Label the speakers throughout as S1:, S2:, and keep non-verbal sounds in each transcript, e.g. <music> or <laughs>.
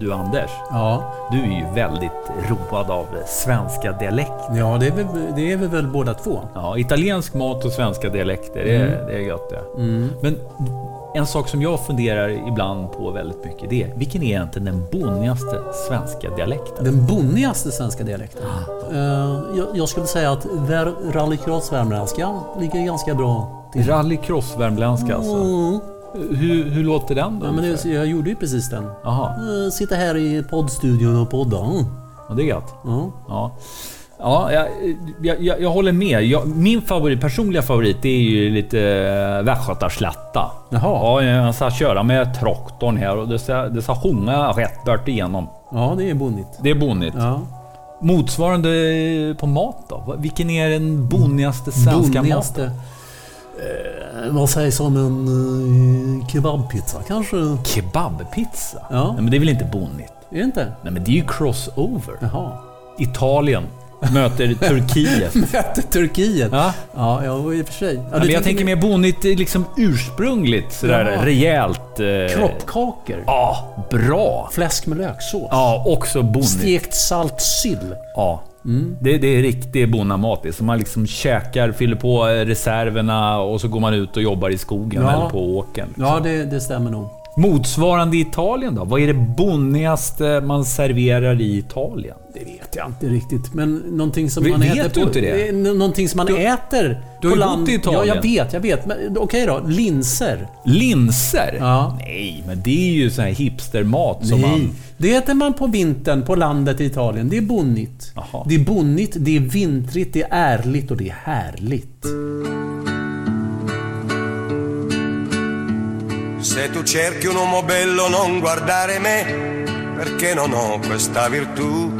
S1: Du Anders,
S2: Ja,
S1: du är ju väldigt road av svenska dialekter.
S2: ja det, är vi, det är vi väl båda två.
S1: Ja, italiensk mat och svenska dialekter, det, är- det är gött det. Men en sak som jag funderar ibland på väldigt mycket, det är vilken är egentligen den bonigaste svenska dialekten?
S2: Den bonnigaste svenska dialekten.
S1: Ah.
S2: Eh, jag, jag skulle säga att ver- rallycross-värmländskan ligger ganska bra till.
S1: Rallycross-värmländska alltså.
S2: Mm.
S1: Hur, hur låter den då?
S2: Ja, men det, jag gjorde ju precis den.
S1: Jaha,
S2: Eh, sitta här i poddstudion och podda. Mm.
S1: ja, det är gött.
S2: Ja.
S1: Ja, ja jag, jag, jag, jag håller med. Jag, min favorit, personliga favorit det är ju lite äh, västgötaslätta. Ja,
S2: Jaha.
S1: jag ska köra med traktorn här och det ska, det ska sjunga rätt bort igenom.
S2: ja, det är bonnigt.
S1: Det är bonnigt.
S2: Ja.
S1: Motsvarande på mat då? Va- Vilken är den bonnigaste svenska maten?
S2: Bonnigaste. Eh, vad sägs om en eh, kebabpizza kanske? Är
S1: Kebabpizza?
S2: Ja.
S1: Nej, men det är väl inte bonnigt?
S2: det inte?
S1: Nej, men det är ju crossover. <laughs>
S2: Jaha.
S1: Italien
S2: <laughs>
S1: möter Turkiet.
S2: Mötte Turkiet.
S1: Ja.
S2: Ja, ja, i och för sig. Ja,
S1: Ja, men jag tänker mer bonnigt, liksom ursprungligt, sådär
S2: Ja.
S1: rejält. Eh,
S2: Kroppkakor.
S1: Ja, bra.
S2: Fläsk med löksås.
S1: Ja, också bonnigt.
S2: Stekt salt sill.
S1: Ja.
S2: Mm.
S1: Det, det är riktig bonnamat. det. Så man liksom käkar, fyller på eh, reserverna och så går man ut och jobbar i skogen
S2: Ja.
S1: eller på åkern.
S2: Ja, det, det stämmer nog.
S1: Motsvarande i Italien då? Vad är det bonnigaste man serverar i Italien?
S2: Det vet jag inte riktigt. Men någonting som
S1: Ve-
S2: man
S1: vet
S2: äter
S1: du
S2: på...
S1: inte det?
S2: eh, nå- Någonting som man äter
S1: du har ju
S2: på land.
S1: bott i Italien.
S2: Ja, jag vet, jag vet. Men eh, okej då. Linser.
S1: Linser?
S2: Ja.
S1: Nej, men det är ju sån här hipstermat som
S2: Nej.
S1: man...
S2: Det äter man på vintern på landet i Italien. Det är bonnigt.
S1: Jaha.
S2: Det är bonnigt, det är vintrigt, det är ärligt och det är härligt.
S3: Se tu cerchi un uomo bello non guardare me, perché non ho questa virtù.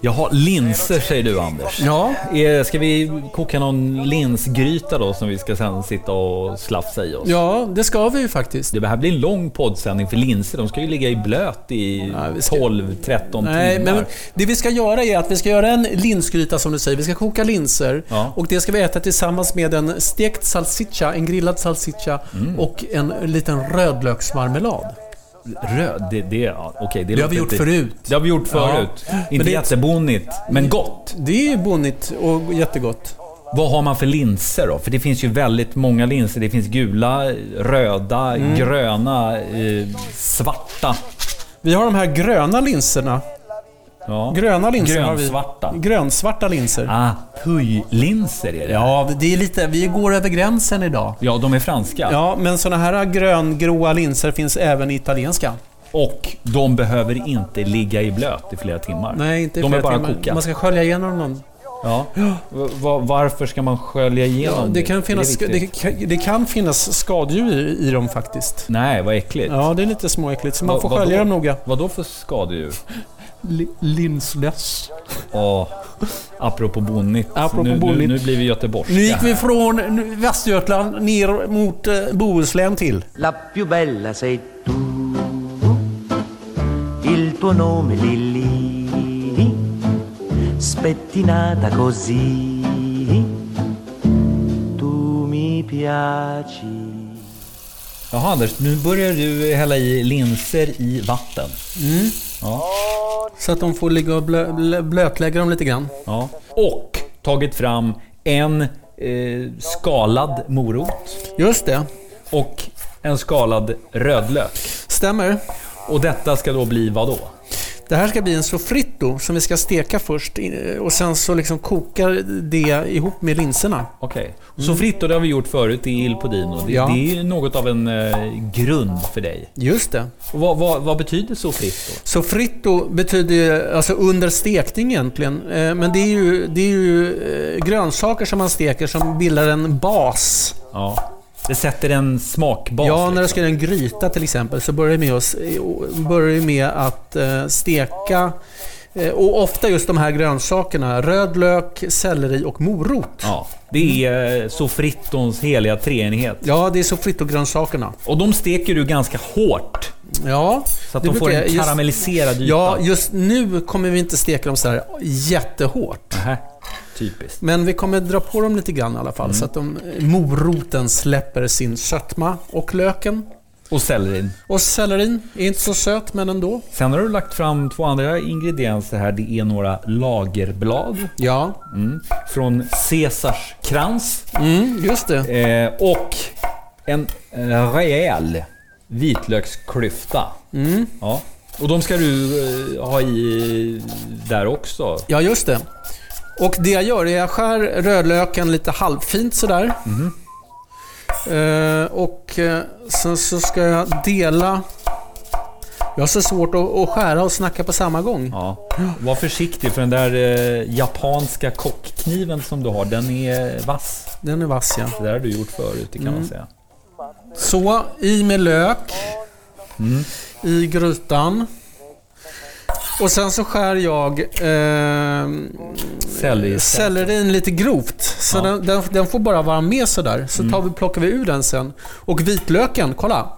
S1: Jaha, linser säger du Anders.
S2: Ja.
S1: Eh, Ska vi koka någon linsgryta då som vi ska sen sitta och slafsa i oss?
S2: Ja, det ska vi ju faktiskt.
S1: Det här blir en lång poddsändning för linser. De ska ju ligga i blöt i
S2: Ja, vi ska-
S1: 12-13 timmar.
S2: Nej, men det vi ska göra är att vi ska göra en linsgryta som du säger. Vi ska koka linser
S1: Ja.
S2: och det ska vi äta tillsammans med en stekt salsiccia, en grillad salsiccia och en liten rödlöksmarmelad.
S1: Röd, det, det, ja, okej, det,
S2: Det har
S1: låter
S2: vi gjort
S1: inte-
S2: förut.
S1: Det har vi gjort förut.
S2: Ja. Men
S1: Inte
S2: det-
S1: jättebonnigt, men gott.
S2: Det är ju bonnigt och jättegott.
S1: Vad har man för linser då? För det finns ju väldigt många linser. Det finns gula, röda,
S2: Mm.
S1: gröna, eh, svarta.
S2: Vi har de här gröna linserna.
S1: Ja.
S2: Gröna linser
S1: Grönsvarta.
S2: har vi. Grönsvarta linser.
S1: Ah, pujlinser är det.
S2: Ja, det är lite... Vi går över gränsen idag.
S1: ja, de är franska.
S2: Ja, men såna här gröngråa linser finns även i italienska.
S1: Och de behöver inte ligga i blöt i flera timmar.
S2: Nej, inte i
S1: de
S2: flera
S1: är bara
S2: timmar.
S1: koka.
S2: Man ska skölja igenom dem.
S1: Ja. Va- varför ska man skölja igenom
S2: Ja, det, kan finnas,
S1: Det är
S2: det,
S1: viktigt.
S2: kan, det kan finnas skadedjur i, i dem faktiskt.
S1: Nej, vad äckligt.
S2: Ja, det är lite småäckligt, så man
S1: Va-
S2: får
S1: vadå?
S2: skölja dem noga.
S1: Vad då för skadedjur?
S2: Linslöss.
S1: Åh, apropå bonnigt.
S2: Apropå
S1: nu,
S2: bonnigt.
S1: Nu, nu blir vi göteborgska.
S2: Nu gick vi från nu- Västergötland ner mot eh, Bohuslän till.
S4: La più bella sei tu, il tuo nome Lilli, spettinata così, tu mi piaci.
S1: Jaha Anders, nu börjar du hälla i linser i vatten.
S2: Så att de får ligga och blö, blö, blötlägga dem lite grann.
S1: Ja. Och tagit fram en eh, skalad morot
S2: Just det.
S1: och en skalad rödlök.
S2: Stämmer.
S1: Och detta ska då bli vad då?
S2: Det här ska bli en soffritto som vi ska steka först eh, och sen så liksom kokar det ihop med linserna.
S1: Okej. Så fritto, det har vi gjort förut i Il Podino. Det,
S2: Ja.
S1: det är ju något av en eh, grund för dig.
S2: Just det.
S1: Och vad, vad, vad betyder så fritto?
S2: Så fritto betyder ju, alltså under stekning egentligen. Eh, Men det är ju, det är ju eh, grönsaker som man steker som bildar en bas.
S1: Ja. Det sätter en smakbas.
S2: ja, när du
S1: liksom.
S2: ska göra en gryta till exempel så börjar det med, oss, börjar det med att eh, steka eh, och ofta just de här grönsakerna. Rödlök, selleri och morot. Ja,
S1: Ja. Det är eh, så frittons heliga treenighet.
S2: det är så frittogrönsakerna.
S1: Och de steker du ganska hårt.
S2: Ja,
S1: Så att
S2: det
S1: de får
S2: brukar
S1: en
S2: jag- just-
S1: karamelliserad yta.
S2: Ja, just nu kommer vi inte steka dem så här jättehårt.
S1: Nähä. Typiskt.
S2: Men vi kommer dra på dem lite grann i alla fall så att de, moroten släpper sin sötma och löken.
S1: Och sellerin.
S2: Och sellerin är inte så söt, men ändå.
S1: Sen har du lagt fram två andra ingredienser här. Det är några lagerblad
S2: Ja,
S1: mm. från Caesars krans
S2: mm, just det.
S1: eh, och en rejäl vitlöksklyfta.
S2: Mm.
S1: Ja. Och de ska du eh, ha i där också.
S2: Ja, just det. Och det jag gör är att jag skär rödlöken lite halvfint sådär. Eh, och eh, sen så ska jag dela... Jag har så svårt att, att skära och snacka på samma gång.
S1: Ja. Var försiktig för den där eh, japanska kockkniven som du har, den är vass.
S2: Den är vass ja.
S1: Det där har du gjort förut, det kan
S2: Mm.
S1: man säga.
S2: Så, i med lök. Mm. I grytan. Och sen så skär jag eh,
S1: Selleri.
S2: sellerin lite grovt. Så
S1: Ja. Mm.
S2: den, den, den får bara vara med sådär. Så tar vi, plockar vi ur den sen. Och vitlöken, kolla.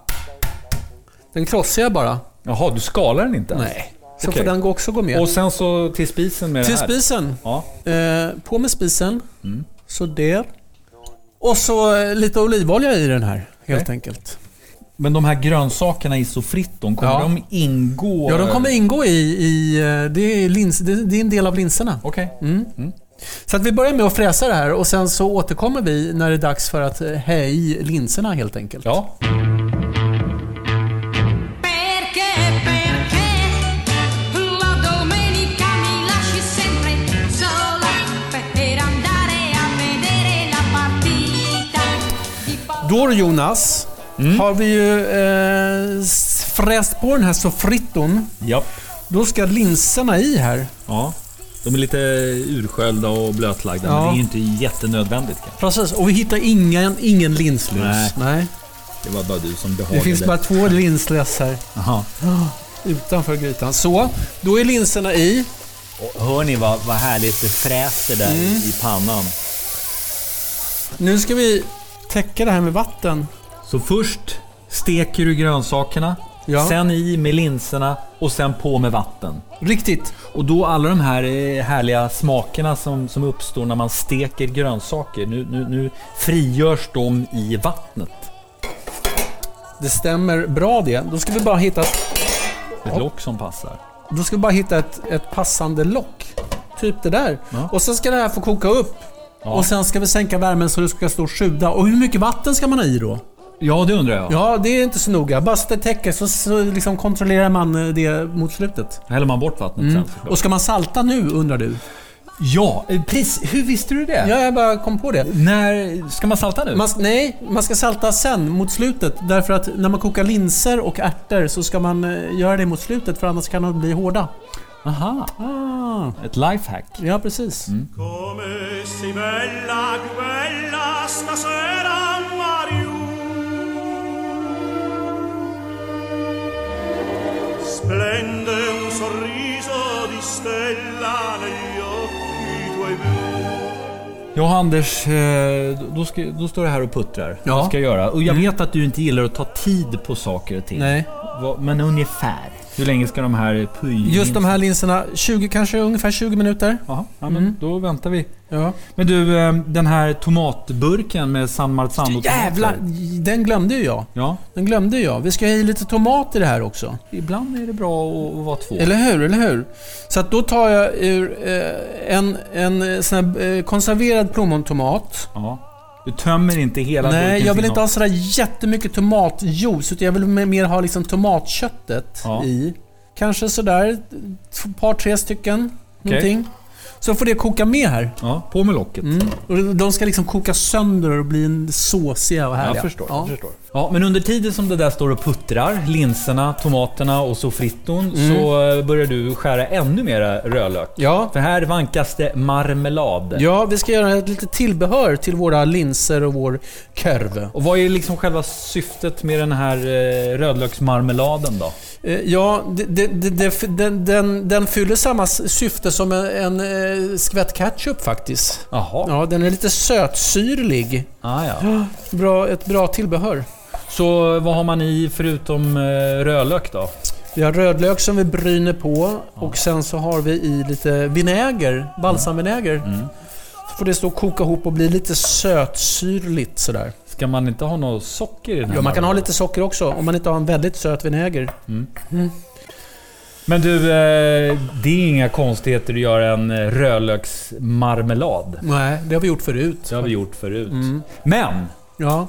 S2: Den krossar jag bara.
S1: Jaha, du skalar den inte? ens?
S2: Nej. Så
S1: Okej.
S2: får den också gå med.
S1: Och sen så till spisen med
S2: Till
S1: det här?
S2: spisen.
S1: Ja. Mm.
S2: Eh, på med spisen. Så där. Och så eh, lite olivolja i den här, helt
S1: Okej.
S2: enkelt.
S1: Men de här grönsakerna i soffritton, kommer
S2: Ja.
S1: de ingå?
S2: Ja, de kommer ingå i... i eh, det, är lins, det, det är en del av linserna.
S1: Okej.
S2: Mm. Så att vi börjar med att fräsa det här och sen så återkommer vi när det är dags för att eh, hä i linserna helt enkelt.
S1: Ja.
S5: Perché, perché la domenica mi lasci sempre sola per andare a vedere la partita di pallavolo?
S2: Då Jonas,
S1: Mm.
S2: har vi ju eh, s- fräst på den här soffritton.
S1: Japp.
S2: Då ska linserna i här.
S1: Ja. De är lite ursköljda och blötlagda, men
S2: Ja.
S1: det är ju inte jättenödvändigt kanske.
S2: Precis, och vi hittar ingen, ingen linslös.
S1: Nej.
S2: Nej.
S1: Det var bara du som
S2: Det
S1: behagade.
S2: finns bara två linslös här
S1: Jaha.
S2: utanför grytan. Så, då är linserna i.
S1: Och hör ni vad, vad härligt det fräser där
S2: Mm.
S1: i pannan?
S2: Nu ska vi täcka det här med vatten.
S1: Så först steker du grönsakerna,
S2: Ja.
S1: sen i med linserna och sen på med vatten.
S2: Riktigt.
S1: Och då alla de här eh, härliga smakerna som, som uppstår när man steker grönsaker, nu, nu, nu frigörs de i vattnet.
S2: Det stämmer bra det. Då ska vi bara hitta ett
S1: Ett lock som passar.
S2: Då ska vi bara hitta ett, ett passande lock. Typ det där.
S1: Ja.
S2: Och sen ska det här få koka upp. Och sen ska vi sänka värmen så det ska stå och sjuda. Och hur mycket vatten ska man ha i då?
S1: Ja, det undrar jag.
S2: Ja, det är inte så noga. Bara så det täcker så, så liksom kontrollerar man eh, det mot slutet.
S1: Häller man bort vattnet
S2: Mm.
S1: sen såklart.
S2: Och ska man salta nu undrar du?
S1: Ja, eh, precis. Hur visste du det?
S2: Ja, jag bara kom på det.
S1: När... Ska man salta nu?
S2: Man, nej, man ska salta sen mot slutet. Därför att när man kokar linser och ärtor så ska man eh, göra det mot slutet för annars kan de bli hårda.
S1: Aha,
S2: Ah, Mm.
S1: ett lifehack.
S2: ja, precis.
S6: Come sei bella, più bella stasera, Mariù. Splende un sorriso di stella negli occhi tuoi blu.
S1: Ja, Anders, eh, då, ska, då står det här och puttrar.
S2: Ja.
S1: Vad ska jag göra? Och jag vet att du inte gillar att ta tid på saker och ting.
S2: Nej.
S1: Vad- Men ungefär. Hur länge ska de här py...
S2: Just de här linserna, 20, kanske ungefär 20 minuter.
S1: Jaha, ja, men då väntar vi.
S2: Ja.
S1: Men du, eh, den här tomatburken med San Marzano
S2: Jävlar, den glömde ju jag.
S1: Ja,
S2: Den glömde ju jag. Vi ska ha i lite tomat i det här också.
S1: ibland är det bra att att vara två.
S2: Eller hur? Eller hur? Så att då tar jag ur eh, en, en eh, sån här, eh, konserverad plommontomat.
S1: Ja. Du tömmer inte hela
S2: Nej,
S1: burkens
S2: jag vill inte ha
S1: innehåll.
S2: sådär jättemycket tomatjuice. Utan jag vill mer- mer ha liksom tomatköttet
S1: Ja.
S2: i. Kanske sådär ett par, tre stycken. Någonting. Så får det koka med här.
S1: Ja, på med locket.
S2: Och de ska liksom koka sönder och bli en såsiga och härliga.
S1: Jag förstår,
S2: Ja.
S1: jag förstår. Ja, men under tiden som det där står och puttrar, linserna, tomaterna och soffritton, så eh, börjar du skära ännu mera rödlök.
S2: Mm. Ja.
S1: För här vankas det marmelad.
S2: ja, vi ska göra ett litet tillbehör till våra linser och vår körv.
S1: Och vad är liksom själva syftet med den här eh, rödlöksmarmeladen då?
S2: Eh, Ja, det, det, det, det, den, den, den fyller samma s- syfte som en, en eh, skvätt ketchup faktiskt.
S1: Jaha.
S2: Ja, den är lite sötsyrlig.
S1: Ah, ja.
S2: Bra, ett bra tillbehör.
S1: Så vad har man i förutom eh, rödlök då?
S2: Vi har rödlök som vi bryner på och sen så har vi i lite vinäger,
S1: Mm.
S2: balsamvinäger. Så får det stå och koka ihop och bli lite sötsyrligt sådär.
S1: Ska man inte ha något socker i den här?
S2: Ja, man kan ha
S1: marmelad?
S2: lite socker också om man inte har en väldigt söt vinäger.
S1: Men du, eh, det är inga konstigheter att göra en eh, rödlöksmarmelad.
S2: Nej, det har vi gjort förut.
S1: Det har vi gjort förut.
S2: Mm.
S1: Men!
S2: Ja,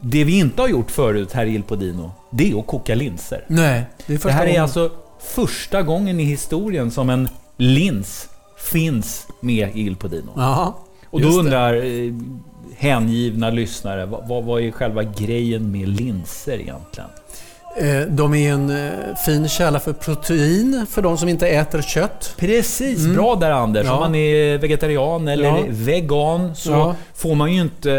S1: Det vi inte har gjort förut här i Il Podino, det är att koka linser.
S2: nej. Det, är första
S1: Det här är
S2: gången.
S1: alltså första gången i historien som en lins finns med i Il Podino.
S2: Ja,
S1: Och då
S2: just det.
S1: undrar eh, hängivna lyssnare, vad, vad- vad är själva grejen med linser egentligen?
S2: Eh, De är en eh, fin källa för protein för de som inte äter kött.
S1: Precis, Mm. bra där Anders.
S2: Ja.
S1: Om man är vegetarian eller
S2: Ja.
S1: vegan så
S2: Ja.
S1: får man ju inte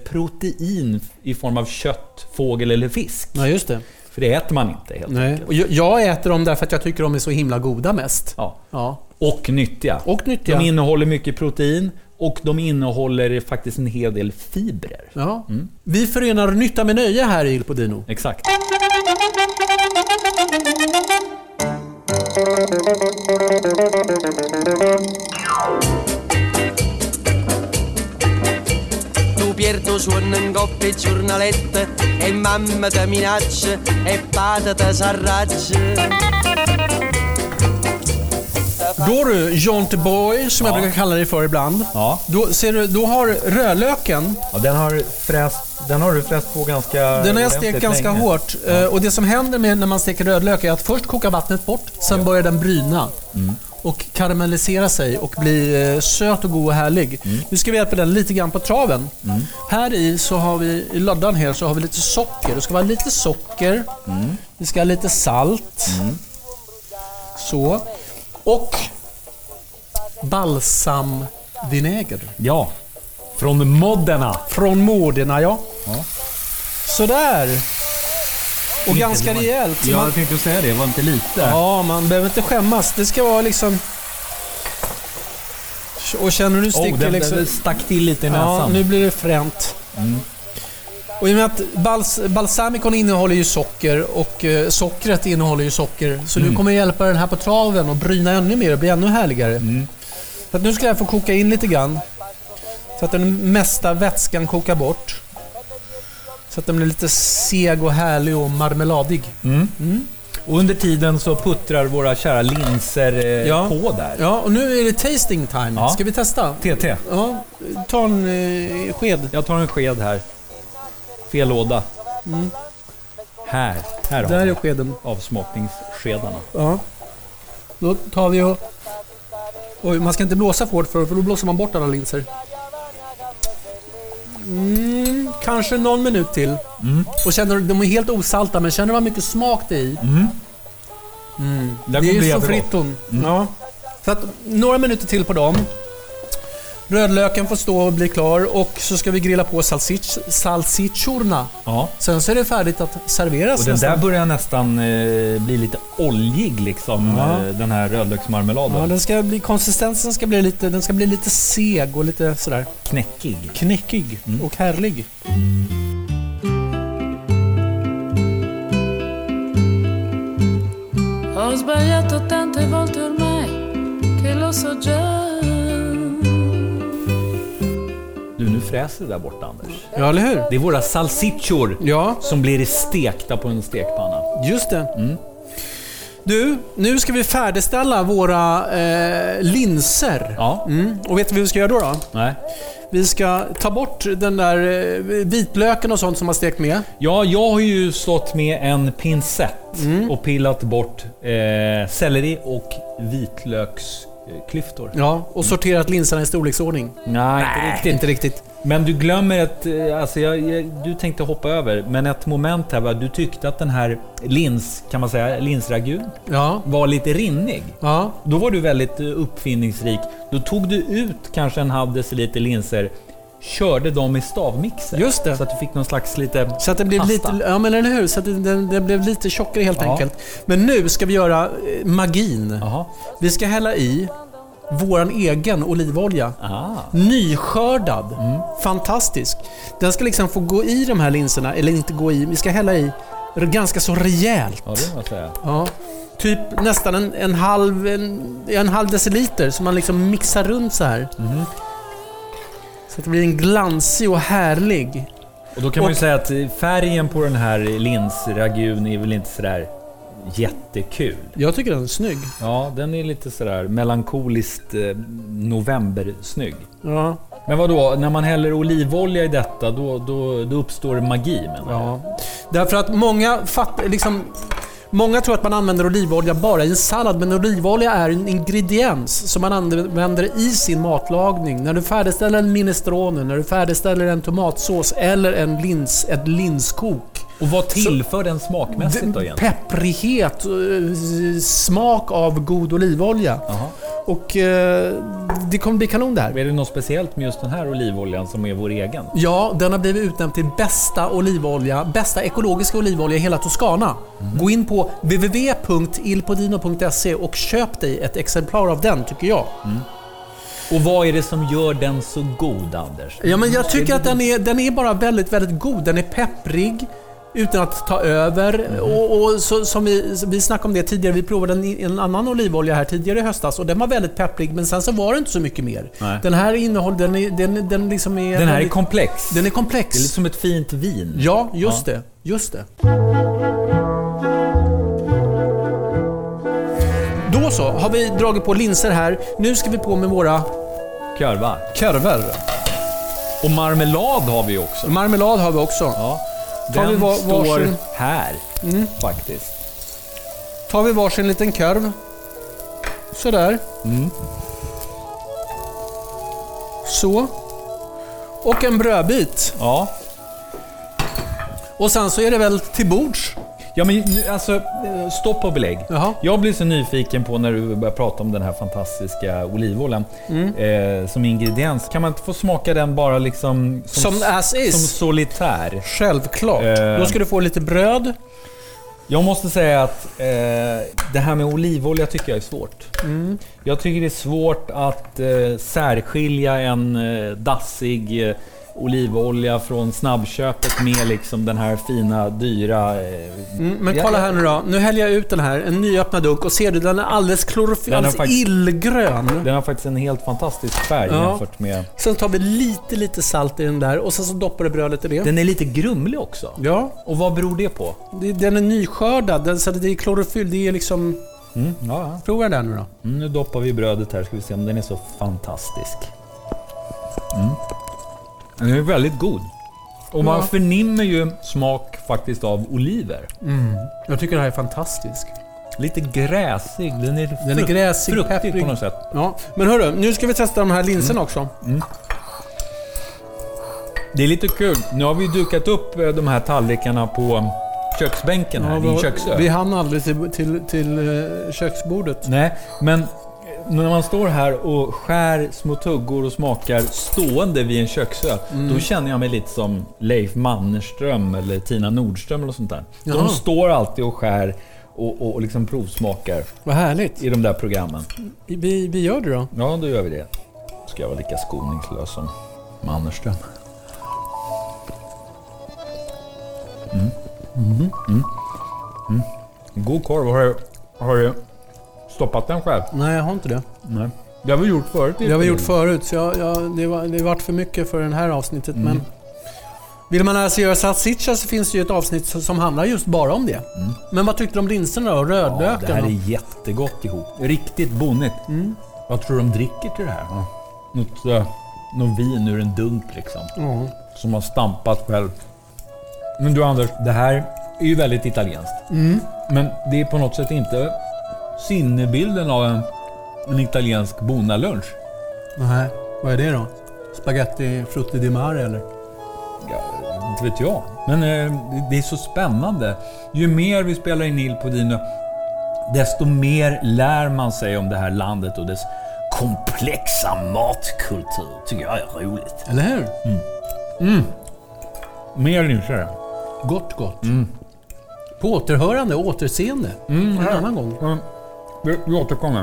S1: eh, protein i form av kött, fågel eller fisk.
S2: Ja, just det.
S1: För det äter man inte helt
S2: Nej.
S1: enkelt.
S2: Och jag- jag äter dem därför att jag tycker de är så himla goda mest.
S1: Ja.
S2: Ja.
S1: Och nyttiga.
S2: Och nyttiga.
S1: De innehåller mycket protein och de innehåller faktiskt en hel del fibrer.
S2: Ja. Vi förenar nytta med nöje här i Il Podino.
S1: Exakt.
S7: Tu Pierdo suona in coppia e giornalette E mamma te minaccia e patata s'arraccia
S2: Då du, Jonte Boy, som jag brukar kalla dig för ibland.
S1: Ja.
S2: Då, ser du, då har rödlöken,
S1: Ja, den, har fräst, den har du fräst på ganska
S2: den har jag stekt
S1: ordentligt
S2: ganska
S1: länge.
S2: hårt. Eh, Och det som händer med när man steker rödlök är att först kokar vattnet bort, sen börjar den bryna.
S1: Mm.
S2: Och karamellisera sig och bli eh, söt och god och härlig.
S1: Mm.
S2: Nu ska vi hjälpa den lite grann på traven. Här i så har vi, i loddan här så har vi lite socker. Det ska vara lite socker.
S1: Mm.
S2: Vi ska ha lite salt. Så. Och balsamvinäger.
S1: Ja. Från modderna.
S2: Från Modena, ja. Sådär. Och ganska rejält. Man,
S1: tänkte säga det, var inte lite.
S2: ja, man behöver inte skämmas. Det ska vara liksom... Och känner du
S1: Oh,
S2: sticker
S1: den,
S2: liksom...
S1: den stack till lite i
S2: ja,
S1: näsan. Mm.
S2: nu blir det fränt. Och i och med att bals, balsamicon innehåller ju socker och eh, sockret innehåller ju socker. Så
S1: Mm.
S2: du kommer hjälpa den här på traven och bryna ännu mer och bli ännu härligare.
S1: Mm.
S2: Så att nu ska jag få koka in lite grann. Så att den mesta vätskan kokar bort. Så att den blir lite seg och härlig och marmeladig.
S1: Mm. Och under tiden så puttrar våra kära linser eh,
S2: Ja.
S1: på där.
S2: Ja, och nu är det tasting time.
S1: Ja.
S2: Ska vi testa?
S1: TT.
S2: Ja, ta en eh, sked.
S1: Jag tar en sked här. Fel låda. Här. Här har
S2: Mm. Där är
S1: vi
S2: skeden.
S1: avsmakningsskedarna.
S2: Ja. Då tar vi och... Oj, man ska inte blåsa för hårt för, för då blåser man bort alla linser. Mm, kanske någon minut till.
S1: Mm.
S2: Och känner, de är helt osalta, men känner man mycket smak det i?
S1: Mm, Det,
S2: Det är ju
S1: jättegott.
S2: soffritton. Ja. Så att, några minuter till på dem. Rödlöken får stå och bli klar och så ska vi grilla på salsich, salsichorna.
S1: Ja.
S2: Sen så är det färdigt att serveras
S1: Och den
S2: nästan.
S1: där börjar nästan eh, bli lite oljig liksom,
S2: Ja.
S1: eh, den här rödlöksmarmeladen.
S2: Ja, den ska bli, konsistensen ska bli lite, den ska bli lite seg och lite sådär
S1: Knäckig.
S2: knäckig och härlig.
S8: Ho sbagliato tante volte ormai che lo so già.
S1: Du, nu fräser det där borta Anders.
S2: Ja, eller hur?
S1: Det är våra salsiccior
S2: Ja,
S1: som blir stekta på en stekpanna.
S2: just det. Du, nu ska vi färdigställa våra eh, linser.
S1: Ja.
S2: Mm. Och vet du vad vi ska göra då? då?
S1: Nej.
S2: Vi ska ta bort den där eh, vitlöken och sånt som har stekt med.
S1: Ja, jag har ju stått med en pincett
S2: Mm.
S1: och pillat bort eh, selleri och vitlöksklyftor.
S2: Ja, och sorterat linserna i storleksordning.
S1: Nej,
S2: Inte riktigt, inte riktigt.
S1: Men du glömmer ett... eh, Alltså jag, jag, du tänkte hoppa över, men ett moment här var du tyckte att den här lins, kan man säga, linsragun
S2: Ja,
S1: var lite rinnig.
S2: ja,
S1: Då var du väldigt eh, uppfinningsrik. Då tog du ut kanske en halv deciliter linser, körde dem i stavmixer.
S2: Just det.
S1: Så att du fick någon slags lite
S2: Så att det blev
S1: pasta.
S2: lite, ja men eller hur? Så att det, den- den blev lite tjockare helt
S1: Ja.
S2: enkelt. Men nu ska vi göra eh, magin.
S1: Jaha.
S2: Vi ska hälla i våran egen olivolja.
S1: Ah.
S2: Nyskördad. Fantastisk. Den ska liksom få gå i de här linserna, eller inte gå i, vi ska hälla i ganska så rejält.
S1: Ja, det får jag säga.
S2: Ja. Typ nästan en, en, halv, en, en halv deciliter som man liksom Mhm. mixar runt så här. Så att det blir en glansig och härlig
S1: Och då kan man ju
S2: Och-
S1: säga att färgen på den här linsragun är väl inte sådär jättekul.
S2: Jag tycker den är snygg.
S1: Ja, den är lite sådär melankoliskt eh, novembersnygg.
S2: Ja.
S1: Men vad då? när man häller olivolja i detta, då, då, då uppstår magi menar jag.
S2: Ja. Därför att många fatt, liksom, Många tror att man använder olivolja bara i en sallad, men olivolja är en ingrediens som man använder i sin matlagning. När du färdigställer en minestrone, när du färdigställer en tomatsås eller en lins, ett linskok.
S1: Och vad tillför den smakmässigt då egentligen?
S2: Pepprighet, eh, smak av god olivolja.
S1: Jaha.
S2: Och eh, det kommer bli kanon det här.
S1: Är det något speciellt med just den här olivoljan som är vår egen?
S2: Ja, den har blivit utnämnd till bästa olivolja, bästa ekologiska olivolja i hela Toscana.
S1: Mm.
S2: Gå in på www.ilpodino.se och köp dig ett exemplar av den tycker jag.
S1: Mm. Och vad är det som gör den så god, Anders?
S2: Ja, men jag tycker att den är, den är bara väldigt, väldigt god. Den är pepprig utan att ta över.
S1: Mm.
S2: Och, och så, som vi, vi snackade om det tidigare, vi provade en, en annan olivolja här tidigare i höstas och den var väldigt pepprig men sen så var det inte så mycket mer.
S1: Nej.
S2: Den här innehåller, den, är, den, den liksom är...
S1: Den här är
S2: väldigt-
S1: komplex.
S2: Den är komplex.
S1: Det är lite som ett fint vin.
S2: Ja, just det. Just det. Då så, har vi dragit på linser här. Nu ska vi på med våra
S1: Körva.
S2: körver.
S1: Och marmelad har vi också.
S2: Marmelad har vi också.
S1: Ja.
S2: Tar
S1: Den
S2: vi var-
S1: står
S2: varsin- Mm.
S1: här faktiskt.
S2: Tar vi varsin liten körv. Sådär.
S1: Mm.
S2: Så. Och en brödbit.
S1: Ja.
S2: Och sen så är det väl till bords.
S1: Ja men nu, alltså, eh, stopp och belägg.
S2: Jaha.
S1: Jag blir så nyfiken på när du börjar prata om den här fantastiska olivoljan
S2: Mm.
S1: eh, som ingrediens. Kan man inte få smaka den bara liksom
S2: Som as is.
S1: som solitär?
S2: Självklart.
S1: Eh.
S2: Då ska du få lite bröd.
S1: Jag måste säga att eh, det här med olivolja tycker jag är svårt.
S2: Mm.
S1: Jag tycker det är svårt att eh, särskilja en eh, dassig eh, olivolja från snabbköpet med liksom den här fina, dyra... Eh,
S2: Mm, Men
S1: Ja,
S2: kolla
S1: ja.
S2: här nu då. Nu häller jag ut den här, en nyöppnad dunk och ser du den är alldeles klorofyll,
S1: Den har
S2: alldeles
S1: faktiskt-
S2: illgrön.
S1: Den har faktiskt en helt fantastisk färg
S2: Ja.
S1: jämfört med...
S2: Sen tar vi lite, lite salt i den där och sen så doppar du brödet i det.
S1: Den är lite grumlig också.
S2: Ja,
S1: Och vad beror det på?
S2: det- den är nyskördad, den, så det är klorofyll. Det är liksom...
S1: Mm, ja, ja.
S2: Prova den där nu då.
S1: Mm, nu doppar vi brödet här, ska vi se om den är så fantastisk. Mm. Den är väldigt god. Och man
S2: Ja.
S1: förnimmer ju smak faktiskt av oliver.
S2: Jag tycker det här är fantastisk.
S1: Lite gräsig, den är,
S2: Den är
S1: frukt-
S2: gräsig,
S1: fruktig
S2: pepprig.
S1: på något sätt.
S2: Ja, men hörru, nu ska vi testa de här linserna också.
S1: Det är lite kul, nu har vi dukat upp eh, de här tallrikarna på eh, köksbänken här,
S2: Ja,
S1: din
S2: vi-
S1: köksö.
S2: vi hann aldrig till, till, till eh, köksbordet.
S1: Nej, men när man står här och skär små tuggor och smakar stående vid en köksö, då känner jag mig lite som Leif Mannerström eller Tina Nordström eller sånt där.
S2: Jaha.
S1: De står alltid och skär och, och, och liksom provsmakar
S2: Vad härligt.
S1: i de där programmen.
S2: Vi, vi gör det då.
S1: Ja, då gör vi det. Ska jag vara lika skoningslös som Mannerström. Mm. Mm. Mm. God korv. Har du, har du stoppat den själv?
S2: Nej, jag har inte det.
S1: Nej. Det har vi gjort förut.
S2: Det har vi gjort förut, så jag, jag, det, var, det vart för mycket för det här avsnittet.
S1: Mm.
S2: Men vill man alltså göra salsiccia så finns det ju ett avsnitt som som handlar just bara om det. Men vad tyckte du om linserna då?
S1: Mm. Ja, det här
S2: Rödlökarna?
S1: är jättegott ihop. Riktigt bonnigt.
S2: Mm.
S1: Vad tror du de dricker till det här? Mm. Något, eh, någon vin ur en dunk liksom.
S2: Ja.
S1: Som har stampat själv. Men du Anders, det här är ju väldigt italienskt.
S2: Mm.
S1: Men det är på något sätt inte sinnebilden av en, en italiensk bonnalunch.
S2: Nej, vad är det då? Spaghetti frutti di mare eller?
S1: Ja, inte vet jag. Men eh, det- det är så spännande. Ju mer vi spelar in Il Podino, desto mer lär man sig om det här landet och dess komplexa matkultur. tycker jag är roligt.
S2: Eller hur?
S1: Mm. Mer nysare.
S2: Gott, gott.
S1: Mm.
S2: På återhörande, återseende. en annan gång.
S1: Vi, vi återkommer.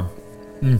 S1: Mm. Mm.